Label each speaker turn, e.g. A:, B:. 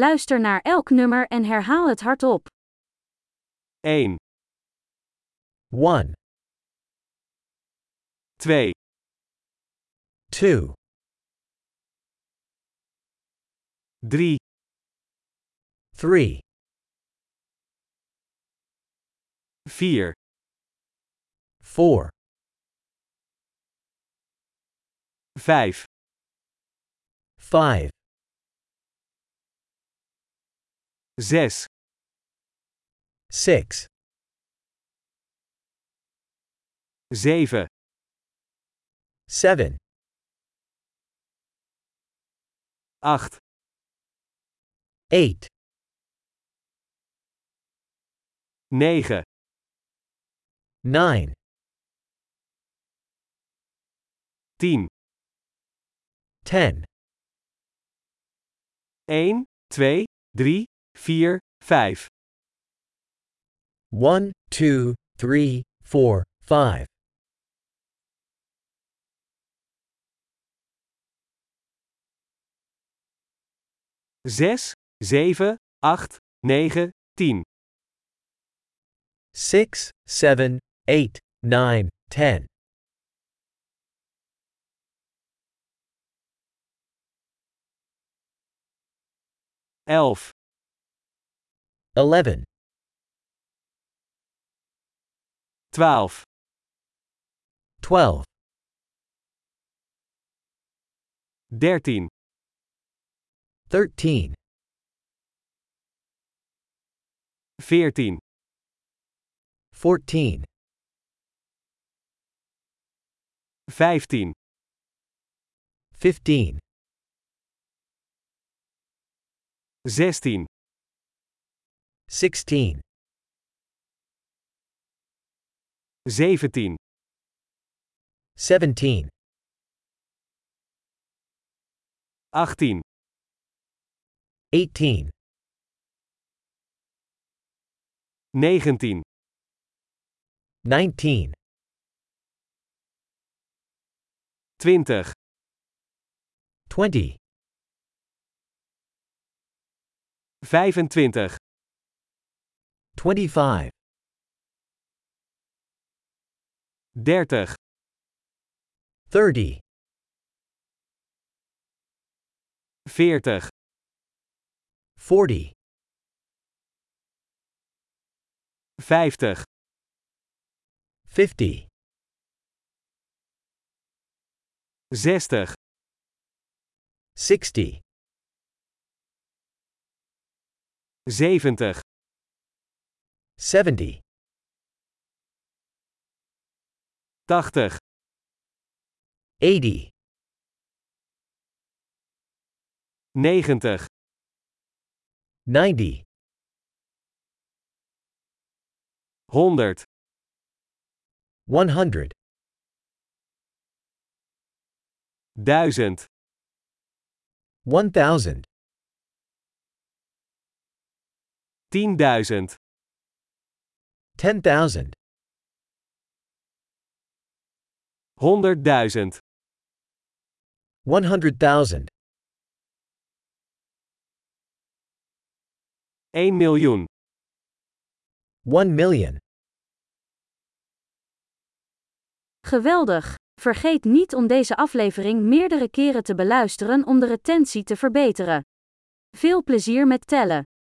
A: Luister naar elk nummer en herhaal het hardop.
B: 1,
C: 1,
B: 2,
C: 2,
B: 3,
C: 3,
B: 4,
C: 4,
B: 5,
C: 5,
B: 6,
C: 6,
B: 7,
C: 7,
B: 8,
C: 8,
B: 9,
C: 9,
B: 10,
C: 10,
B: 1, 2, 3, 4, 5,
C: 1, 2, 3, 4, 5,
B: 6, 7, 8, 9, 10,
C: 6, 7, 8, 9, 10,
B: 11,
C: 11,
B: 12,
C: 12,
B: 13,
C: 13,
B: 14,
C: 14,
B: 15,
C: 15,
B: 16,
C: 16,
B: 17,
C: 17,
B: 18,
C: 18,
B: 19,
C: 19,
B: 20,
C: 20,
B: 25,
C: 25,
B: 30,
C: 30,
B: 40,
C: 40,
B: 50,
C: 50,
B: 60,
C: 60,
B: 70,
C: 70,
B: 80,
C: 80,
B: 90,
C: 90,
B: 100,
C: 100,
B: 1000,
C: 1000,
B: 10.000,
C: 10,000,
B: 100.000,
C: 100,000,
B: 1 miljoen,
C: 1 million.
A: Geweldig! Vergeet niet om deze aflevering meerdere keren te beluisteren om de retentie te verbeteren. Veel plezier met tellen!